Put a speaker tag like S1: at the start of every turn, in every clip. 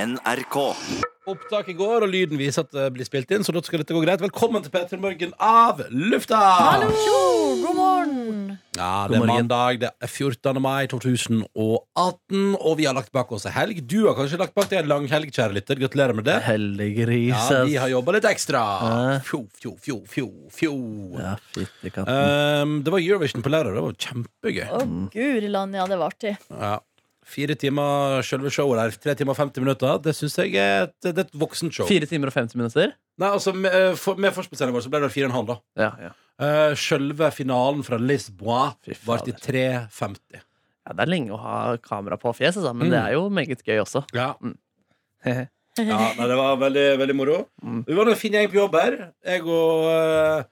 S1: NRK.
S2: Opptaket går, og lyden viser at det blir spilt inn, så da skal dette gå greit. Velkommen til P3 Morgen av lufta!
S3: Hallo! God morgen!
S2: Ja, det er mandag, det er 14. mai 2018, og vi har lagt bak oss en helg. Du har kanskje lagt bak deg en lang helg, kjære lytter. Gratulerer med det. Ja,
S4: Heldiggrises.
S2: vi har jobba litt ekstra.
S4: Ja.
S2: Fjo, fjo, fjo, fjo, fjo.
S4: Ja, fytti katten.
S2: Um, det var Eurovision på lørdag. Det var kjempegøy.
S3: Å, guri land, ja, det var artig.
S2: Ja. Fire timer selve showet der. Tre timer og 50 minutter. Det syns jeg er et, det er et voksent show.
S4: Fire timer og 50 minutter?
S2: Nei, altså, med, eh, for, med forspillscenen vår så ble det fire og en halv, da.
S4: Ja, ja.
S2: Uh, Sjølve finalen fra Lisboa
S4: Fy
S2: var
S4: fader.
S2: til 3.50.
S4: ja. Det er lenge å ha kamera på fjeset, altså, men det er jo meget gøy også.
S2: Ja.
S4: Hehe.
S2: ja, nei, Det var veldig, veldig moro.
S4: Mm.
S2: Vi var en fin gjeng på jobb her. Jeg og, eh,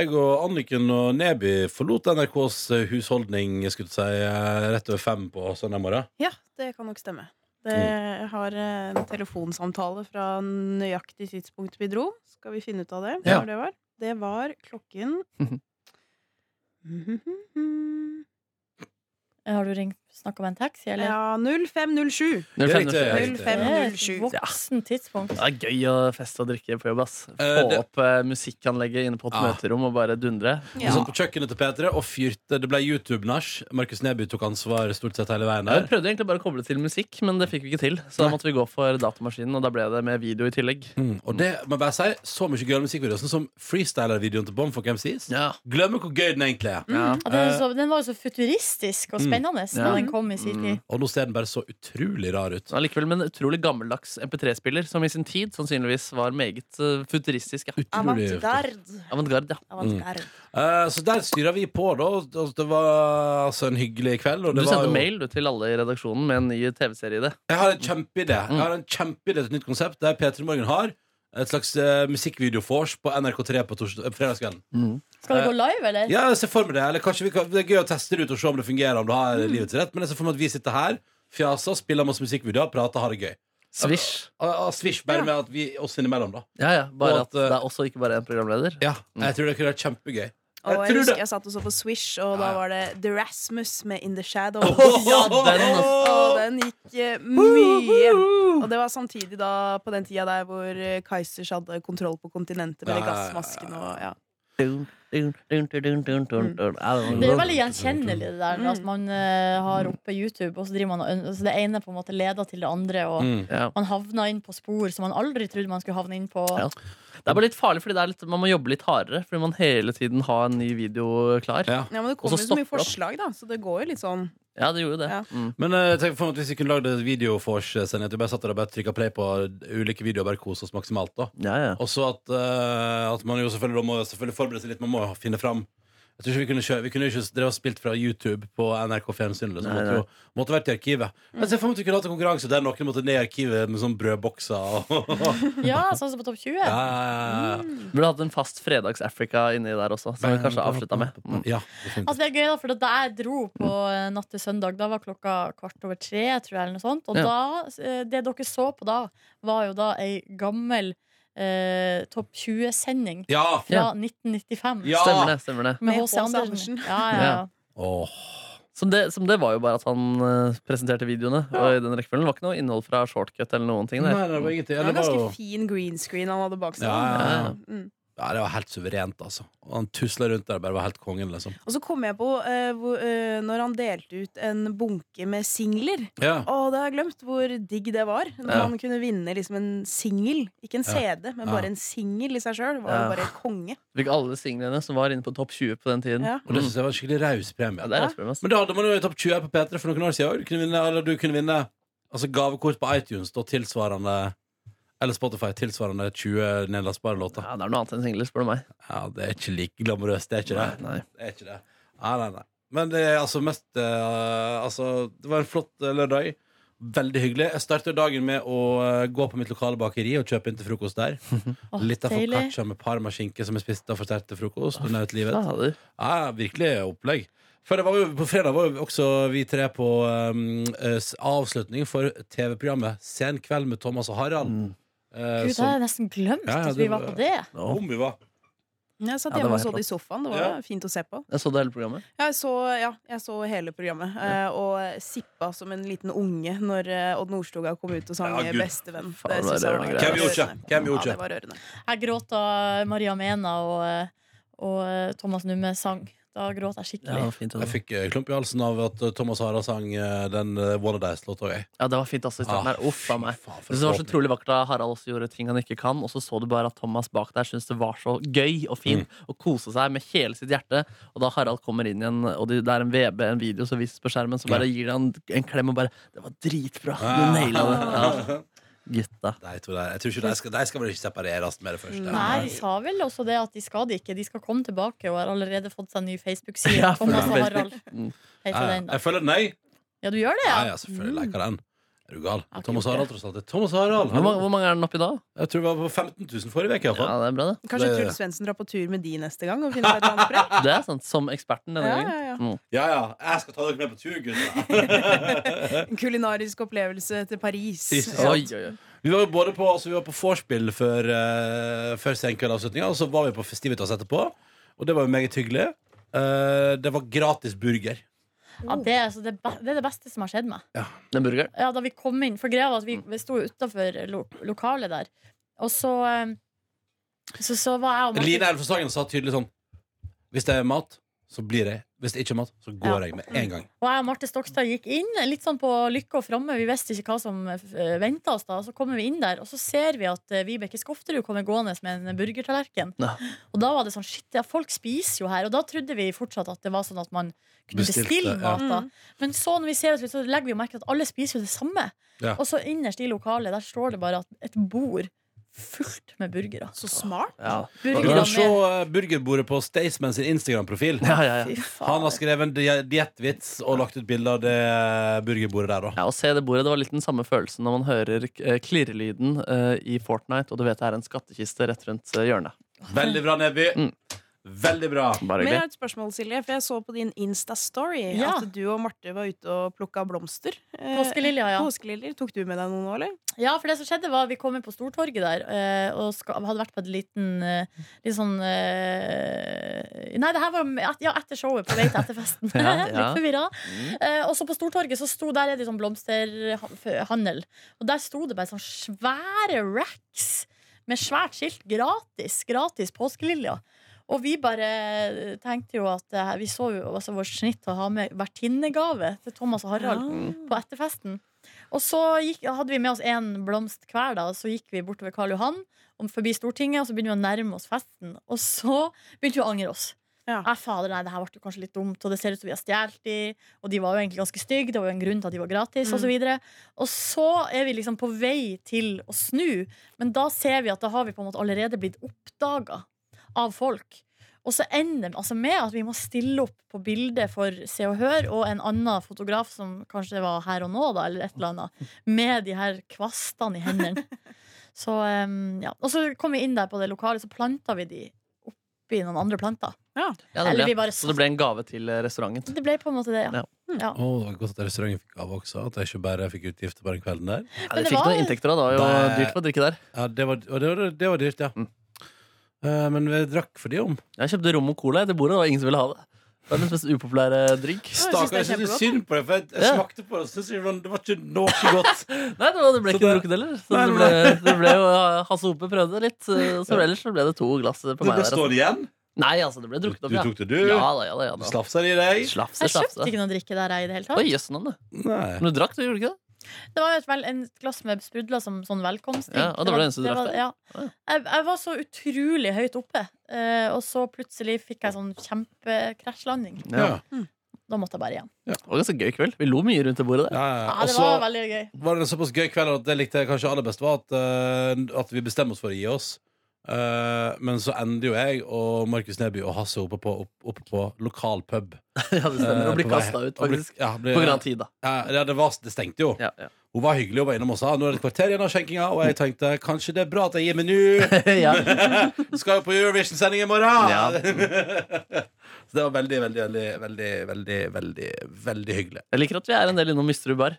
S2: jeg og Anniken og Neby forlot NRKs eh, husholdning jeg skulle si, eh, rett over fem på søndag morgen.
S5: Ja, det kan nok stemme.
S2: Mm.
S5: Det jeg har eh, en telefonsamtale fra nøyaktig tidspunkt vi dro. Skal vi finne ut av det?
S2: Ja.
S5: Når det, var. det var klokken
S3: Har du ringt, snakka med en taxi, eller?
S5: Ja, 05.07.
S2: Det
S4: 05
S2: er riktig, det er riktig.
S5: 05.07.
S3: Det er et Voksen tidspunkt.
S4: Det er gøy å feste og drikke på jobb. ass
S2: Eh,
S4: Få
S2: det-
S4: opp eh, Ah. musikkanlegget inne på et
S2: Ja.
S4: møterom og bare dundre.
S2: Vi
S5: Ja.
S2: satt på kjøkkenet til P3 og fyrte. Det ble YouTube-nach. Markus Neby tok ansvar stort sett hele veien
S4: Jeg
S2: der.
S4: prøvde egentlig bare å koble til musikk, men det fikk vi ikke til. Så da måtte vi gå for datamaskinen, og da ble det med video i tillegg.
S2: Mm. Og det må jeg bare si, så mye gøyere musikkvideo, sånn som freestyler-videoen til Bomb for MCs.
S4: Ja. Mm.
S2: Glemmer hvor gøy den egentlig er.
S4: Ja.
S3: Ja, den, så, den var jo så futuristisk og
S2: Eh, Mm.
S3: spennende da
S4: Ja.
S3: den kom i sin tid.
S2: Og nå ser den bare så utrolig rar ut.
S4: Men Allikevel med en utrolig gammeldags MP3-spiller, som i sin tid sannsynligvis var meget eh, futuristisk. Ja.
S2: Utrolig
S4: Avantgarde, ja.
S5: Avantgarde.
S2: Eh, Så der styrer vi på, da. Altså, Det var altså en hyggelig kveld. Og
S4: Du
S2: det var
S4: sendte
S2: jo...
S4: mail du, til alle i redaksjonen med en ny TV-serie i det.
S2: Jeg har en
S4: Mm.
S2: kjempeidé Jeg har en kjempeidé til et nytt konsept der P3 Morgen har et slags eh, musikkvideo-vors på NRK3 på tors- eh, fredagskvelden.
S3: Skal det gå live, eller?
S2: Ja, jeg ser for meg det. Eller kanskje vi kan, Det er gøy å teste det ut og se om det fungerer. Om det har
S4: Mm.
S2: livets rett Men jeg ser for meg at vi sitter her, fjaser, spiller masse musikkvideoer, prater, har det gøy.
S4: Swish.
S2: Ah, ah, Swish, bare med at vi oss innimellom, da.
S4: Ja, ja. Bare
S2: Og
S4: at
S2: at, eh,
S4: det er også ikke bare én programleder.
S2: Ja, Jeg tror det kunne vært kjempegøy. Jeg
S5: Og jeg
S2: tror
S5: husker
S2: det.
S5: jeg satt og så på Swish, og da var det The Rasmus med In The Shadow.
S4: Ja, den, altså. ass.
S5: Og den gikk eh, mye. Og det var samtidig da på den tida der hvor eh, Kaizers hadde kontroll på kontinentet med
S2: Ja,
S5: de gassmaskene og ja.
S4: Dun, dun, dun, dun, dun, dun, dun, dun. Ja, det var-
S3: Det er jo veldig gjenkjennelig det der
S5: Mm.
S3: at man eh, har oppe YouTube, og så driver man og- så det ene på en måte leder til det andre, og
S2: Mm.
S4: Ja.
S3: man havna inn på spor som man aldri trodde man skulle havne inn på.
S4: Ja. Det er bare litt farlig, fordi det er litt, man må jobbe litt hardere. Fordi man hele tiden har en ny video klar.
S2: Ja.
S5: ja, men det
S4: Og så
S5: kommer jo så mye
S4: stopper det opp.
S5: forslag, da, så det går jo litt sånn.
S4: Ja, det gjorde det.
S5: Ja.
S4: Mm.
S2: Men eh, tenk for meg at hvis vi kunne lagd et videofors-sending At vi bare satt der og bare trykket play på ulike videoer og bare koset oss maksimalt da
S4: Ja, ja.
S2: Og så at, eh, at man jo selvfølgelig da må jo selvfølgelig forberede seg litt Man må jo finne fram Jeg tror ikke vi kunne kjøre Vi kunne jo ikke drevet og spilt fra YouTube på NRK fjernsyn Det
S4: Nei,
S2: måtte jo måtte vært i arkivet Men se for meg at vi kunne hatt en konkurranse Der noen måtte ned i arkivet med sånn brødbokser og,
S3: Ja, sånn som på Topp 20.
S2: ja, ja, ja,
S4: Burde hatt en fast Fredags-Africa inni der også, Mm. som vi kanskje avslutta med. Mm.
S2: ja, definitivt.
S3: Altså det er gøy da, for Da jeg dro på eh, natt til søndag, da var klokka kvart over tre. tror jeg, eller noe sånt Og
S4: Ja.
S3: da, eh, det dere så på da, var jo da ei gammel eh, Topp 20-sending
S2: ja.
S3: fra 1995.
S2: Ja.
S4: Stemmer det. stemmer det
S3: Med
S5: Med
S3: H.C.
S5: H.C.
S3: Andersen.
S5: Andersen.
S3: Ja, ja, ja.
S4: Ja.
S2: Åh,
S4: som, det som det var jo bare at han eh, presenterte videoene. Og i den rekkefølgen Det var ikke noe innhold fra shortcut eller noen ting.
S2: nei,
S4: Der.
S2: nei, det var ingenting
S5: Det
S2: Ja,
S5: var
S2: det var jo
S5: ganske fin green screen han hadde bak seg.
S2: Ja,
S4: ja, ja.
S5: Mm.
S2: ja, det var helt suverent altså Og Han tuslet rundt der og bare var helt kongen liksom
S5: Og så kom jeg på eh, hvor, eh, når han delte ut en bunke med singler.
S2: Ja
S5: Å, det har jeg glemt hvor digg det var. Når
S4: Ja.
S5: man kunne vinne liksom en singel. Ikke en CD, men
S2: Ja.
S5: bare en singel i seg sjøl. Var
S4: Ja.
S5: jo bare konge.
S4: Fikk alle singlene som var inne på topp 20 på den tiden.
S5: Ja.
S2: Og det synes jeg var en skikkelig raus premie
S4: Ja, det er et problem, ass.
S2: Men da hadde man jo i topp 20 her på P3 for noen år siden også. Du kunne vinne, Eller du kunne vinne altså gavekort på iTunes da, tilsvarende Eller Spotify tilsvarende 20 nedlastbare låter.
S4: Ja, det er noe annet enn singler, spør du meg.
S2: Ja, det er ikke like glamorøst. Det er ikke det.
S4: Nei.
S2: det, er ikke det. Nei, nei, nei. Men det er altså mest eh, Altså, det var en flott eh, lørdag. Veldig hyggelig. Jeg startet dagen med å eh, gå på mitt lokale bakeri og kjøpe inn til frokost der.
S3: Åh,
S2: Litt av
S3: deilig.
S2: foccaccia med parmaskinke som jeg spiste for sterkt til frokost. Under ut livet.
S4: Fader.
S2: Ja, virkelig opplegg. For det var jo, på fredag var jo også vi tre på um, eh, s- avslutning for TV-programmet Sen kveld med
S4: Mm.
S2: Thomas og Harald. Eh,
S3: Gud, jeg
S2: som,
S3: hadde nesten glemt
S2: Ja, ja, det
S3: at vi var
S2: var-
S3: på det.
S2: om vi var.
S5: Jeg satt
S4: Ja, det
S5: hjemme
S4: var
S5: og så
S4: helt
S5: det i sofaen. Det var
S2: Ja.
S5: fint å se på.
S4: Jeg så det hele programmet.
S5: Jeg så, ja, jeg så hele programmet eh, og sippa som en liten unge når eh, Odd Nordstoga kom ut og sang
S2: Ja,
S5: eh,
S2: Gud.
S5: 'Bestevenn'.
S4: Faen, det var
S5: synes jeg
S4: rørende greier.
S2: Hvem gjorde ikke? Hvem gjorde
S5: Ja,
S2: ikke?
S5: det var rørende.
S3: Jeg gråt da Maria Mena og, eh, og eh, Thomas Numme sang. Da gråt jeg
S4: Ja, det
S3: skikkelig.
S4: var fint,
S2: Jeg
S4: altså.
S2: fikk eh, klump i halsen av at eh, Thomas Hara sang eh, den eh, One of Dice-låta òg.
S4: ja, det var fint altså, i starten her. Uff a meg.
S2: Ah, Faen, for
S4: Jeg synes det var så
S2: en åpning.
S4: utrolig vakkert da Harald også gjorde ting han ikke kan, og så så du bare at Thomas bak der syntes det var så gøy og fint å kose seg med hele sitt hjerte. Og da Harald kommer inn igjen, og det det er en VB, en video som vises på skjermen, så bare gir han en klem og bare 'Det var dritbra! Du naila det!' Ja, gutta.
S2: Nei, jeg tror det er- jeg tror ikke de skal, de skal vel ikke separeres med det første.
S3: Nei, de sa vel også det at de skal det ikke. De skal komme tilbake og har allerede fått seg en ny Facebook-side.
S4: Ja, for
S3: Thomas og
S4: Facebook.
S3: Harald
S4: Mm.
S2: Ja, ja.
S3: heter den. da.
S2: Jeg føler nei.
S3: Ja, du gjør det,
S2: Ja,
S3: ja?
S2: ja, selvfølgelig leker den. Er du gal?
S3: har ikke
S2: Thomas
S3: gjort
S2: Harald, tross alt. Det er Thomas Harald.
S4: Hvor mange, hvor mange er den oppi da?
S2: Jeg tror det var på 15 000 forrige uke,
S4: Ja,
S2: iallfall.
S4: det er bra, det.
S5: Kanskje
S2: Det-
S5: Truls Svendsen drar på tur med de neste gang og finner et eller annet sprell?
S4: Det er sant. Som eksperten denne
S5: Ja,
S4: gangen.
S5: ja, ja.
S4: Mm.
S2: Ja, ja. Jeg skal ta dere med på tur, gutter.
S5: En kulinarisk opplevelse til Paris.
S2: Trist.
S5: Ja.
S4: Oi, oi, oi.
S2: vi var jo både på altså, Vi var på vorspiel før, uh, før senkveldavslutninga, og så var vi på Festivitas etterpå. Og det var jo meget hyggelig. Eh, det var gratis burger.
S3: ja det, er, altså det, be- det er det beste som har skjedd meg.
S4: Den burgeren.
S3: ja, da vi kom inn For greia var at vi, vi sto utenfor lo lokalet der Og så eh, Så, så var jeg og Martin
S2: Line Elfesagen sa tydelig sånn Hvis det er mat, så blir jeg. Hvis det ikke er mat, så går
S3: Ja.
S2: jeg med en
S4: Mm.
S2: gang.
S3: Og jeg og Marte Stokstad gikk inn, litt sånn på lykke og framme. Vi visste ikke hva som eh, venta oss da. Så kommer vi inn der, og så ser vi at eh, Vibeke Skofterud kommer gående med en burgertallerken.
S4: Ja.
S3: Og da var det sånn shit, ja, folk spiser jo her. Og da trodde vi fortsatt at det var sånn at man kunne
S2: Bestilte,
S3: bestille
S2: ja.
S3: mat. da. Men så når vi ser oss ut, så legger vi jo merke til at alle spiser jo det samme.
S2: Ja.
S3: Og så innerst i lokalet, der står det bare at et bord fullt med burgere.
S5: Så smart.
S4: Ja.
S2: Du kan se
S3: Burgerne med
S2: eh, burgerbordet på Staysman sin Instagram-profil.
S4: Ja, ja, ja.
S3: Fy
S2: Han
S3: faen.
S2: har skrevet en di- diettvits og lagt ut bilde av det eh, burgerbordet der òg.
S4: Ja, å se det bordet, det var litt den samme følelsen når man hører eh, klirrelyden eh, i Fortnite, og du vet det er en skattkiste rett rundt eh, hjørnet.
S2: Veldig bra, Nebby.
S4: Mm.
S2: Veldig bra.
S4: Bare
S5: Men jeg
S4: hyggelig.
S5: har et spørsmål, Silje, for jeg så på din Insta-story
S3: Ja.
S5: at du og Marte var ute og plukka blomster. Eh,
S3: Påskelilja, ja.
S5: Påskeliljer. Tok du med deg noen nå, eller?
S3: Ja, for det som skjedde var Vi kom inn på Stortorget der eh, Og ska- hadde vært på et liten eh, Litt sånn eh, Nei, det her var med- et- ja, etter showet På vei til etterfesten
S4: Ja, Mm. ja.
S3: Litt forvirra eh, Og så på Stortorget så sto Der er det sånn blomsterhandel Og der sto det bare sånn svære racks Med svært skilt Gratis, gratis påskelilja og vi bare tenkte jo at eh, Vi så jo altså, vår snitt å ha med Vertinnegave til Thomas og Harald
S5: Mm.
S3: på etterfesten. Og så gikk, hadde vi med oss én blomst hver, da, og så gikk vi bortover Karl Johan, om forbi Stortinget, og så begynte vi å nærme oss festen. Og så begynte vi å angre oss.
S5: Ja.
S3: Nei, fader, nei, det her ble jo kanskje litt dumt, og det ser ut som vi har stjålet de, og de var jo egentlig ganske stygge, det var jo en grunn til at de var gratis,
S5: Mm.
S3: og så videre. Og så er vi liksom på vei til å snu, men da ser vi at da har vi på en måte allerede blitt oppdaga av folk. Og så ender det altså med at vi må stille opp på bildet for Se og Hør og en annen fotograf som kanskje var her og nå, da, eller et eller annet, med de her kvastene i hendene. Så, em, ja. Og så kom vi inn der på det lokalet, så planta vi de oppi noen andre planter.
S4: Ja, det
S3: Eller vi
S4: ble.
S3: bare
S4: Så det ble en gave til eh, restauranten.
S3: Det ble på en måte det, ja. Mm.
S4: Ja.
S3: ja.
S2: Å, det var godt at restauranten fikk gave også. At jeg ikke bare fikk utgifter på den kvelden der.
S4: Ja,
S3: Men
S4: de
S3: det
S4: fikk
S3: var-
S4: noen inntekter da, det var jo
S2: Det-
S4: dyrt på å drikke der.
S2: Ja, det var, og det var, det var dyrt, ja.
S4: Mm.
S2: Eh, men vi drakk for de om.
S4: Jeg kjøpte rom og cola etter bordet, og ingen som ville ha det. Det var den mest upopulære drink.
S2: Stakkar, jeg
S5: det er
S2: syns
S5: kjempegodt.
S2: synd på det, for jeg, jeg
S4: Ja.
S2: smakte på det, og så synes jeg det var ikke noe godt.
S4: Nei, det, var, det ble
S2: Så
S4: ikke
S2: det-
S4: drukket heller. Så
S2: Nei,
S4: det ble, det ble jo Hasse Hope prøvde det litt, eh, så ellers så ble det to glass på
S2: Det
S4: meg.
S2: ble
S4: der, altså.
S2: stående igjen.
S4: Nei, altså, det ble
S2: Du,
S4: drukket opp,
S2: du
S4: ja.
S2: tok det, du.
S4: Ja da, ja da. ja
S2: Du
S4: da.
S2: slafsa det i deg.
S4: Slafse,
S3: Jeg kjøpte
S4: slafse.
S3: ikke noe drikke der jeg i det
S4: Oi,
S3: hele tatt.
S4: jøss, nonne.
S2: Nei.
S4: Men du drakk, du gjorde ikke det?
S3: Det var jo et, vel, en glass med sprudler som sånn velkomstdrink.
S4: Ja, og det var det eneste du drakk
S3: var-
S4: der?
S3: Ja.
S4: Å, ja.
S3: Jeg, jeg var så utrolig høyt oppe, eh, og så plutselig fikk jeg sånn kjempekrasjlanding.
S2: Ja.
S3: Da måtte jeg bare hjem.
S4: Det var ganske gøy kveld. Vi lo mye rundt det bordet der.
S2: Ja, ja.
S3: Ja,
S2: Og
S3: det
S2: så
S3: var veldig gøy.
S2: var det en såpass gøy kveld at det likte jeg kanskje aller best, var at, eh, at vi bestemmer oss for å gi oss. Eh, men så ender jo jeg og Markus Neby og Hasse oppe på, opp, oppe på lokal pub.
S4: Ja, det stemmer. Og
S2: Eh,
S4: bli
S2: på vei-
S4: kasta ut,
S2: og bli-
S4: faktisk.
S2: Ja, ble,
S4: På grunn av tid, da.
S2: ja, ja, det, var, det stengte jo.
S4: Ja, Mm. ja.
S2: Hun var hyggelig og var innom og sa nå er det et kvarter igjen av skjenkinga, og jeg tenkte kanskje det er bra at jeg gir meg nå.
S4: ja.
S2: Skal jo på Eurovision-sending i morgen!
S4: Ja.
S2: Så det var veldig, veldig, veldig, veldig, veldig, veldig, veldig hyggelig.
S4: Jeg liker at vi er en del innom Misterud bar.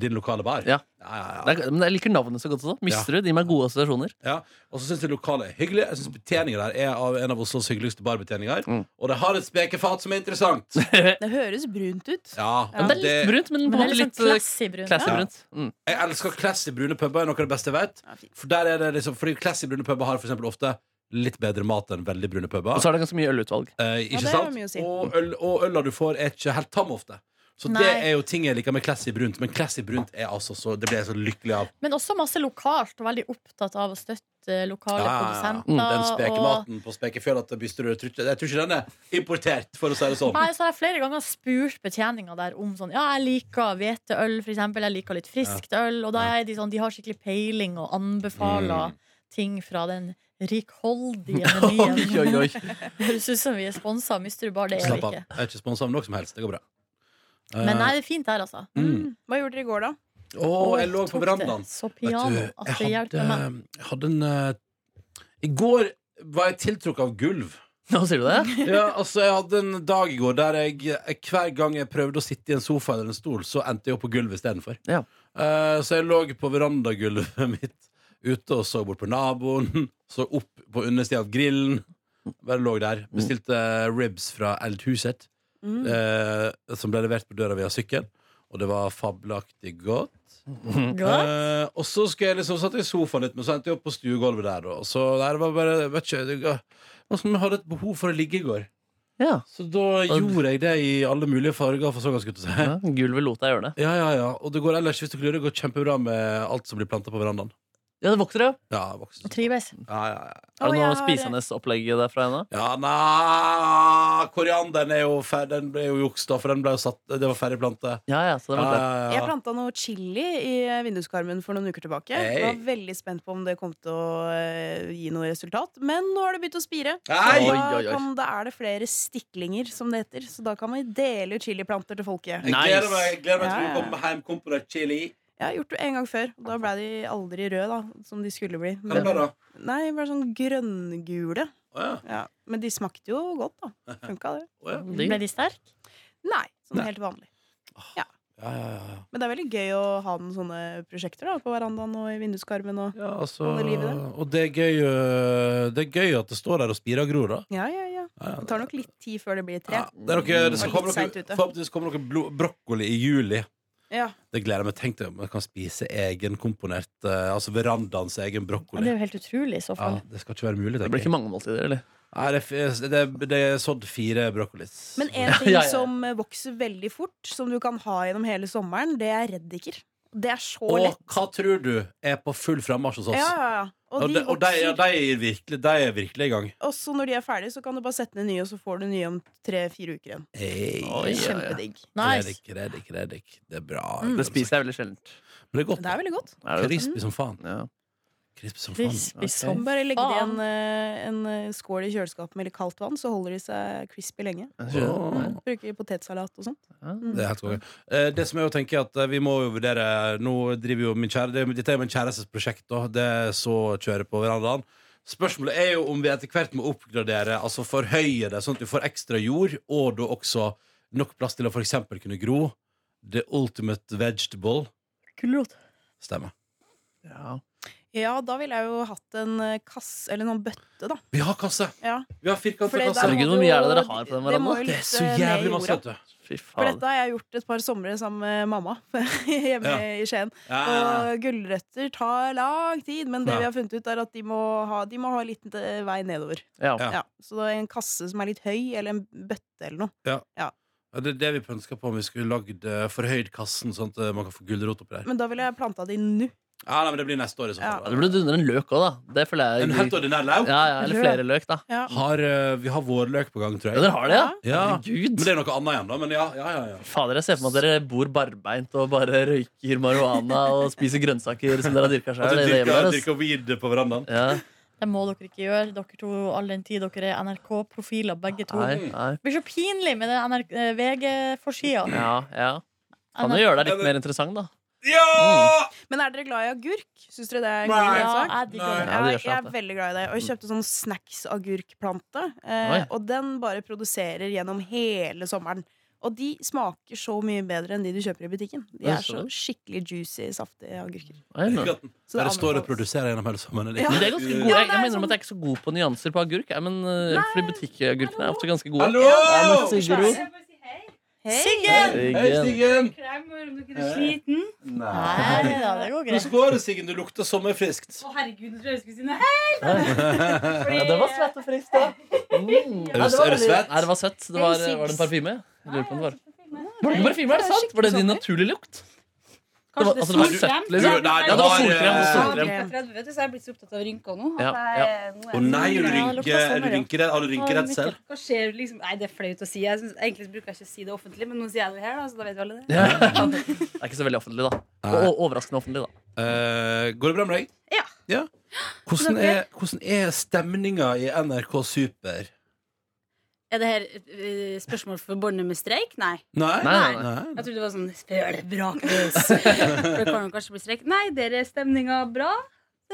S2: Din lokale bar.
S4: Ja.
S2: Ja, ja,
S4: Det
S2: ja.
S4: er- Men jeg liker navnet så godt også. Misterud gir meg gode assosiasjoner.
S2: ja. Og så syns jeg lokalet er hyggelig. Jeg synes Betjeningen der er av en av Oslos hyggeligste barbetjeninger.
S4: Mm.
S2: Og det har et spekefat som er interessant.
S5: Det høres brunt ut.
S2: Ja,
S5: Ja,
S4: Men det er litt
S2: det-
S4: brunt, men på
S3: Men
S4: en
S3: det
S4: måte
S3: er litt
S4: litt
S3: sånn
S4: eh,
S3: classy brun.
S4: classy
S2: Ja.
S4: brunt. Mm.
S2: Jeg elsker classy brune puber. er Noe av det beste jeg vet.
S5: Ja, fint.
S2: For der er det liksom, fordi classy brune puber har for eksempel ofte litt bedre mat enn veldig brune puber.
S4: Og så er det ganske mye ølutvalg.
S2: Eh, ikke
S5: det har
S2: sant?
S5: mye å si.
S2: Og, øl, og øla du får, er ikke helt tam ofte. Så det
S3: Nei.
S2: er jo ting jeg liker med classy brunt. Men classy brunt er altså så, det blir jeg så lykkelig av.
S3: Men også masse lokalt, og veldig opptatt av å støtte eh, lokale
S2: Mm, Den
S3: produsenter. og
S2: spekematen på spekefjøla til Bysterud Jeg tror ikke jeg tror ikke den er importert, for å si det sånn.
S3: Nei, så har jeg flere ganger spurt betjeninga der om sånn Ja, jeg liker hveteøl, for eksempel. Jeg liker litt friskt øl. Og da er de sånn De har skikkelig peiling og
S2: Mm.
S3: anbefaler ting fra den rikholdige menyen.
S4: Oi, oi, oi.
S3: Det høres ut som vi er sponsa av Mysterud Bar. Det er vi
S2: Slapp av.
S3: ikke.
S2: Jeg er ikke sponsa av noe som helst. Det går bra. Eh,
S3: Men nei, det er fint der, altså.
S2: mm.
S5: Hva gjorde dere i går, da?
S2: Å, jeg lå på
S3: Tok det
S2: verandaen.
S3: Så
S2: Vet
S3: piano
S2: du,
S3: at det
S2: jeg
S3: hjelper altså, meg.
S2: hadde, jeg hadde en eh, I går var jeg tiltrukket av gulv.
S4: Nå sier du det?
S2: Ja, altså Jeg hadde en dag i går der jeg eh, hver gang jeg prøvde å sitte i en sofa eller en stol, så endte jeg opp på gulvet istedenfor.
S4: Ja.
S2: Eh, så jeg lå på verandagulvet mitt ute og så bort på naboen. Så opp på undersida av grillen. Bare lå der. Bestilte ribs fra Eldhuset,
S5: Mm.
S2: eh, som ble levert på døra via sykkel. Og det var fabelaktig godt.
S3: Godt.
S2: Eh, og så skulle jeg liksom satt jeg i sofaen litt, men så endte jeg opp på stuegulvet der. Da. Så der var bare, jeg vet ikke, det, ga- det var som om jeg hadde et behov for å ligge i går.
S4: Ja.
S2: Så da gjorde jeg det i alle mulige farger, for sånn så ganske ut å si.
S4: ja. Gulvet lot deg gjøre det.
S2: Ja, ja, ja. Og det går ellers, hvis du lurer, det går kjempebra med alt som blir planta på verandaen.
S4: Ja, det vokser, ja.
S2: Ja, voksen.
S3: Og trives.
S2: Ja, ja, ja.
S4: Er
S5: Å,
S4: det
S5: jeg
S4: noe
S5: har-
S4: spisende opplegg derfra ennå?
S2: Ja, na, korianderen er jo ferdig, den ble jo juks da, for den ble jo satt, det var ferdig plante.
S4: Ja, ja, så det
S2: Ja,
S4: var det.
S2: ja,
S5: Jeg
S2: ja.
S5: planta noe chili i vinduskarmen for noen uker tilbake.
S2: Hey.
S5: Var veldig spent på om det kom til å eh, gi noe resultat. Men nå har det begynt å spire.
S2: Nei!
S5: Så da,
S4: Oi, oi, oi.
S5: kan, da er det flere stiklinger, som det heter. Så da kan man dele ut chiliplanter til folket.
S2: Jeg gleder meg, jeg gleder meg til
S5: Ja,
S2: du
S5: ja.
S2: kommer hjem, kom på deg chili.
S5: Jeg har gjort det en gang før, og da ble de aldri røde, da. Som de skulle bli.
S2: Hva ble det da?
S5: nei, bare sånn grønngule.
S2: Å ja,
S5: Ja. Men de smakte jo godt, da. Funka det?
S2: å ja.
S4: Digg.
S3: Ble de sterke?
S5: Nei, sånn
S2: Nei.
S5: helt vanlig.
S2: Ja, ja, ja, ja.
S5: Men det er veldig gøy å ha noen sånne prosjekter da, på verandaen og i vinduskarmen. Og...
S2: Ja, altså,
S5: Alle livet der.
S2: og det er, gøy, øh, det er gøy at det står der og spirer og gror, da.
S5: Ja, ja, ja.
S2: Ja, ja,
S5: Det tar nok litt tid før det blir et
S2: ja,
S5: tre.
S2: det er noe, det skal
S5: Og
S2: komme
S5: litt
S2: noe,
S5: sent ute.
S2: forhåpentligvis kommer noe blo- brokkoli i juli.
S5: Ja.
S2: Det gleder jeg meg. Tenk deg om jeg kan spise egenkomponert uh, Altså verandaens egen
S3: Ja, det
S2: brokkoli.
S3: er jo helt utrolig i så
S2: Ja,
S3: fall.
S2: det skal ikke være mulig,
S4: Det blir
S2: tenker jeg.
S4: ikke mange måltider, eller?
S2: Nei, det, er f- eh, det, er- det er sådd fire brokkolis.
S5: Men en ting
S4: ja, ja.
S5: som eh, vokser veldig fort, som du kan ha gjennom hele sommeren, det er reddiker. Det er så
S2: og
S5: lett.
S2: hva tror du er på full frammarsj hos oss?
S5: Ja, ja, ja. Og,
S2: altså. Og,
S5: de
S2: de, og de, ja,
S5: vokser.
S2: de, er virkelig, de er virkelig i gang.
S5: Også når de er ferdige, så kan du bare sette ned nye, og så får du nye om tre-fire uker igjen.
S2: Hey.
S4: Oi, ja,
S5: Det er
S4: ja.
S5: kjempedigg.
S3: Nice.
S2: Reddik, reddik, reddik. Det er bra.
S4: Det spiser jeg veldig sjeldent.
S2: Men det er
S5: Men Det
S2: godt.
S5: er veldig godt.
S4: Er det?
S2: Crispy som faen.
S4: Ja.
S2: Crispy som faen.
S3: Crispy
S5: Du
S3: som
S5: må Bare legge det i en,
S3: Faen.
S5: eh, en eh, skål i kjøleskapet med litt kaldt vann, så holder de seg crispy lenge.
S2: Åh.
S5: Bruker potetsalat og sånt. Mm.
S2: Det er helt konge. Eh, Det som jeg jo tenker er at eh, vi må jo vurdere Nå driver jo min kjære det- Dette er jo min kjærestes prosjekt da. Det er så kjører på verandaen Spørsmålet er jo om vi etter hvert må oppgradere Altså forhøye det sånn at vi får ekstra jord Og da også nok plass til å for eksempel kunne gro The ultimate vegetable
S3: gulrot.
S2: Stemmer
S4: Ja.
S5: Ja, da ville jeg jo hatt en eh, kasse, eller noen bøtte, da.
S2: Vi har kasse!
S5: Ja.
S2: Vi har
S5: For
S2: firkantet
S5: det-
S2: kasse!
S5: der
S4: Herregud,
S5: må
S4: hvor
S5: du
S4: mye er
S5: jo-
S4: det dere har på den
S5: det må
S4: verandaen?
S5: jo
S2: Det er så
S5: lyfte ned
S2: jævlig masse,
S5: jorda.
S2: vet du
S4: Fy
S5: For
S4: faen.
S5: dette har jeg gjort et par somre sammen med mamma hjemme i Skien.
S2: Ja.
S5: Og gulrøtter tar lang tid, men det
S2: Ah. Ja.
S5: vi har funnet ut, er at de må ha, de må ha litt eh, vei nedover.
S4: Ja.
S2: Ja.
S5: Ja. Så det er en kasse som er litt høy, eller en bøtte eller noe.
S2: Ja, Det er det vi pønsker på om vi skulle lagd eh, forhøyd kassen Sånn at eh, man kan få gullrot oppi der
S5: Men da ville jeg planta de nå.
S2: Ja, nei, men det blir neste år i så
S5: Ja.
S2: fall
S4: Ja, Det burde dundre en løk òg, da. Det føler jeg
S2: En helt ordinær lauk
S4: Ja, ja, Eller flere løk, da.
S5: Ja.
S2: har, eh, Vi har vårløk på gang, tror
S4: Ja,
S2: jeg.
S4: dere har det, ja?
S2: Ja. Men
S4: Herregud.
S2: det er noe annet igjen, da. Men ja, ja, ja, ja.
S4: Fader, jeg ser for meg at dere bor barbeint og bare røyker marihuana og spiser grønnsaker som dere har dyrka
S2: At
S4: sjøl.
S2: du
S4: Det, er det,
S2: dyrker,
S4: hjemme deres.
S2: dyrker weed på verandaen.
S4: ja.
S3: Det må dere ikke gjøre, dere to, all den tid dere er NRK-profiler, begge to.
S4: Nei, nei.
S3: Det blir så pinlig med den eh, VG-forsida.
S4: Ja, ja. Kan jo gjøre deg litt mer interessant, da.
S2: Mm. Ja!
S5: Men er dere glad i agurk? Syns dere det er en
S2: Nei.
S5: god
S3: Ja,
S5: grønnsak?
S3: jeg digger det.
S4: Ja, det gjør
S5: jeg, jeg
S4: seg
S5: er veldig glad i det. Og jeg kjøpte sånn snacks-agurkplante. Eh,
S4: Oi.
S5: og den bare produserer gjennom hele sommeren. Og de smaker så mye bedre enn de du kjøper i butikken. De
S4: Ja,
S5: er
S4: så
S5: så
S4: det.
S5: skikkelig juicy, saftige agurker.
S4: Oi, nå.
S5: Så
S2: Bare står og
S5: anbefales.
S2: produserer gjennom hele sommeren.
S5: Ja.
S4: Men det er ganske gode.
S5: Ja,
S4: Jeg,
S5: det
S4: jeg
S5: er
S4: mener om
S5: sånn-
S4: at jeg er ikke så god på nyanser på agurk. Jeg, men, eh, fordi butikkagurkene er ofte ganske gode.
S2: Hallo!
S4: Jeg må si
S5: Sigurd.
S4: Gro.
S5: Hei!
S3: Siggen!
S2: Hei,
S4: Siggen.
S2: Siggen!
S1: Klemmer, om dere
S2: Eh.
S1: er sliten.
S3: Nei da, det går
S2: Hvordan
S3: greit.
S2: går det, Siggen? Du lukter sommerfriskt.
S1: Å herregud, nå tror jeg jeg skulle si nei.
S4: Ja, det var svett og friskt, da. Mm.
S2: Er du, er du svett?
S4: Nei, det var søtt. Det var, var det en parfyme? Jeg Lurer på om det var. Var det ikke parfyme? Er det sant? Var det din naturlige lukt? Det var, altså, det var søtt,
S1: solkrem?
S4: liksom.
S2: Du, nei,
S4: Ja, det var
S2: var,
S4: solkrem.
S2: eh,
S4: solkrem.
S5: solkrem.
S1: 30, vet du, så jeg er blitt så opptatt av rynker nå.
S4: Ja,
S2: Å nei, er du
S3: Ja,
S2: rynker, er
S3: det lukter
S2: du
S3: sommer, ja.
S2: rynker, har du rynkeredsel?
S1: Hva skjer liksom? Nei, det er flaut å si. Jeg synes, egentlig så bruker jeg ikke å si det offentlig, men nå sier jeg det her, da, så da vet vi alle det.
S4: Ja. Det er ikke så veldig offentlig, da.
S2: Nei.
S4: Og og overraskende offentlig, da.
S2: Eh, går det bra med deg?
S1: Ja.
S2: Hvordan
S1: Det
S2: er, hvordan er stemninga i NRK Super?
S1: Er det her eh, spørsmål forbundet med streik? Nei.
S2: Nei?
S4: Nei, nei,
S2: Nei.
S1: Jeg trodde det var sånn spølebrakvis. For det kan jo kanskje bli streik. Nei, der er stemninga bra.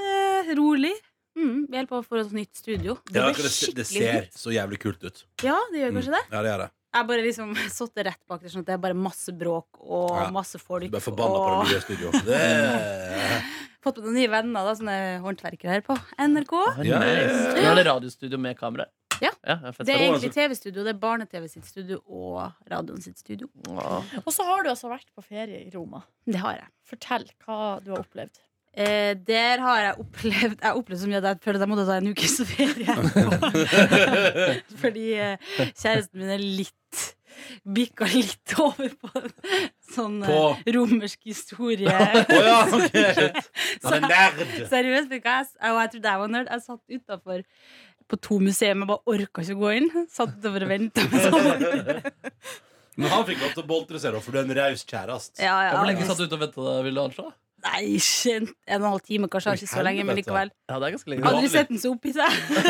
S1: Eh, rolig. Mm, vi holder på å få et nytt studio. Det
S2: Ja,
S1: blir
S2: det, se- det
S1: skikkelig
S2: ser
S1: kult.
S2: så jævlig kult ut.
S1: Ja, det gjør
S2: Mm.
S1: kanskje det.
S2: Ja, det gjør det.
S1: Jeg bare liksom satt det rett bak der, sånn at det er bare masse bråk og
S2: Ja.
S1: masse folk.
S2: Du ble forbanna på det nye studioet. Det-
S1: Fått med noen nye venner, da, sånne håndverkere her på NRK.
S2: Ja, ja, ja.
S4: Nice. Nå er det radiostudio med kamera.
S1: Ja.
S4: ja fett.
S1: Det er
S2: Å, altså.
S1: egentlig TV-studio. Det er Barne-TV sitt studio og radioen sitt studio.
S4: Ja.
S3: Og så har du altså vært på ferie i Roma.
S1: Det har jeg.
S3: Fortell hva du har opplevd.
S1: Eh, der har jeg opplevd Jeg har opplevd så mye at jeg føler at jeg måtte ta en ukes ferie. Fordi eh, kjæresten min er litt Bikka litt over på en sånn eh,
S2: På?
S1: romersk historie.
S2: Å ja, ok. Han er nerd.
S1: Seriøst, vet du hva? jeg, og jeg trodde jeg var nerd. Jeg satt utafor på to museer, men bare orka ikke å gå inn. Satt utover og Sånn. venta.
S2: Men han fikk lov til å boltre seg, da, for du er en raus kjæreste.
S1: Ja, ja,
S4: Hvor lenge satt du ute og venta, vil du anslå?
S1: sånn, Nei, ikke en en og en halv time, kanskje. Ikke så lenge, men likevel.
S4: Ja, det er ganske lenge.
S1: Aldri sett den så oppi seg.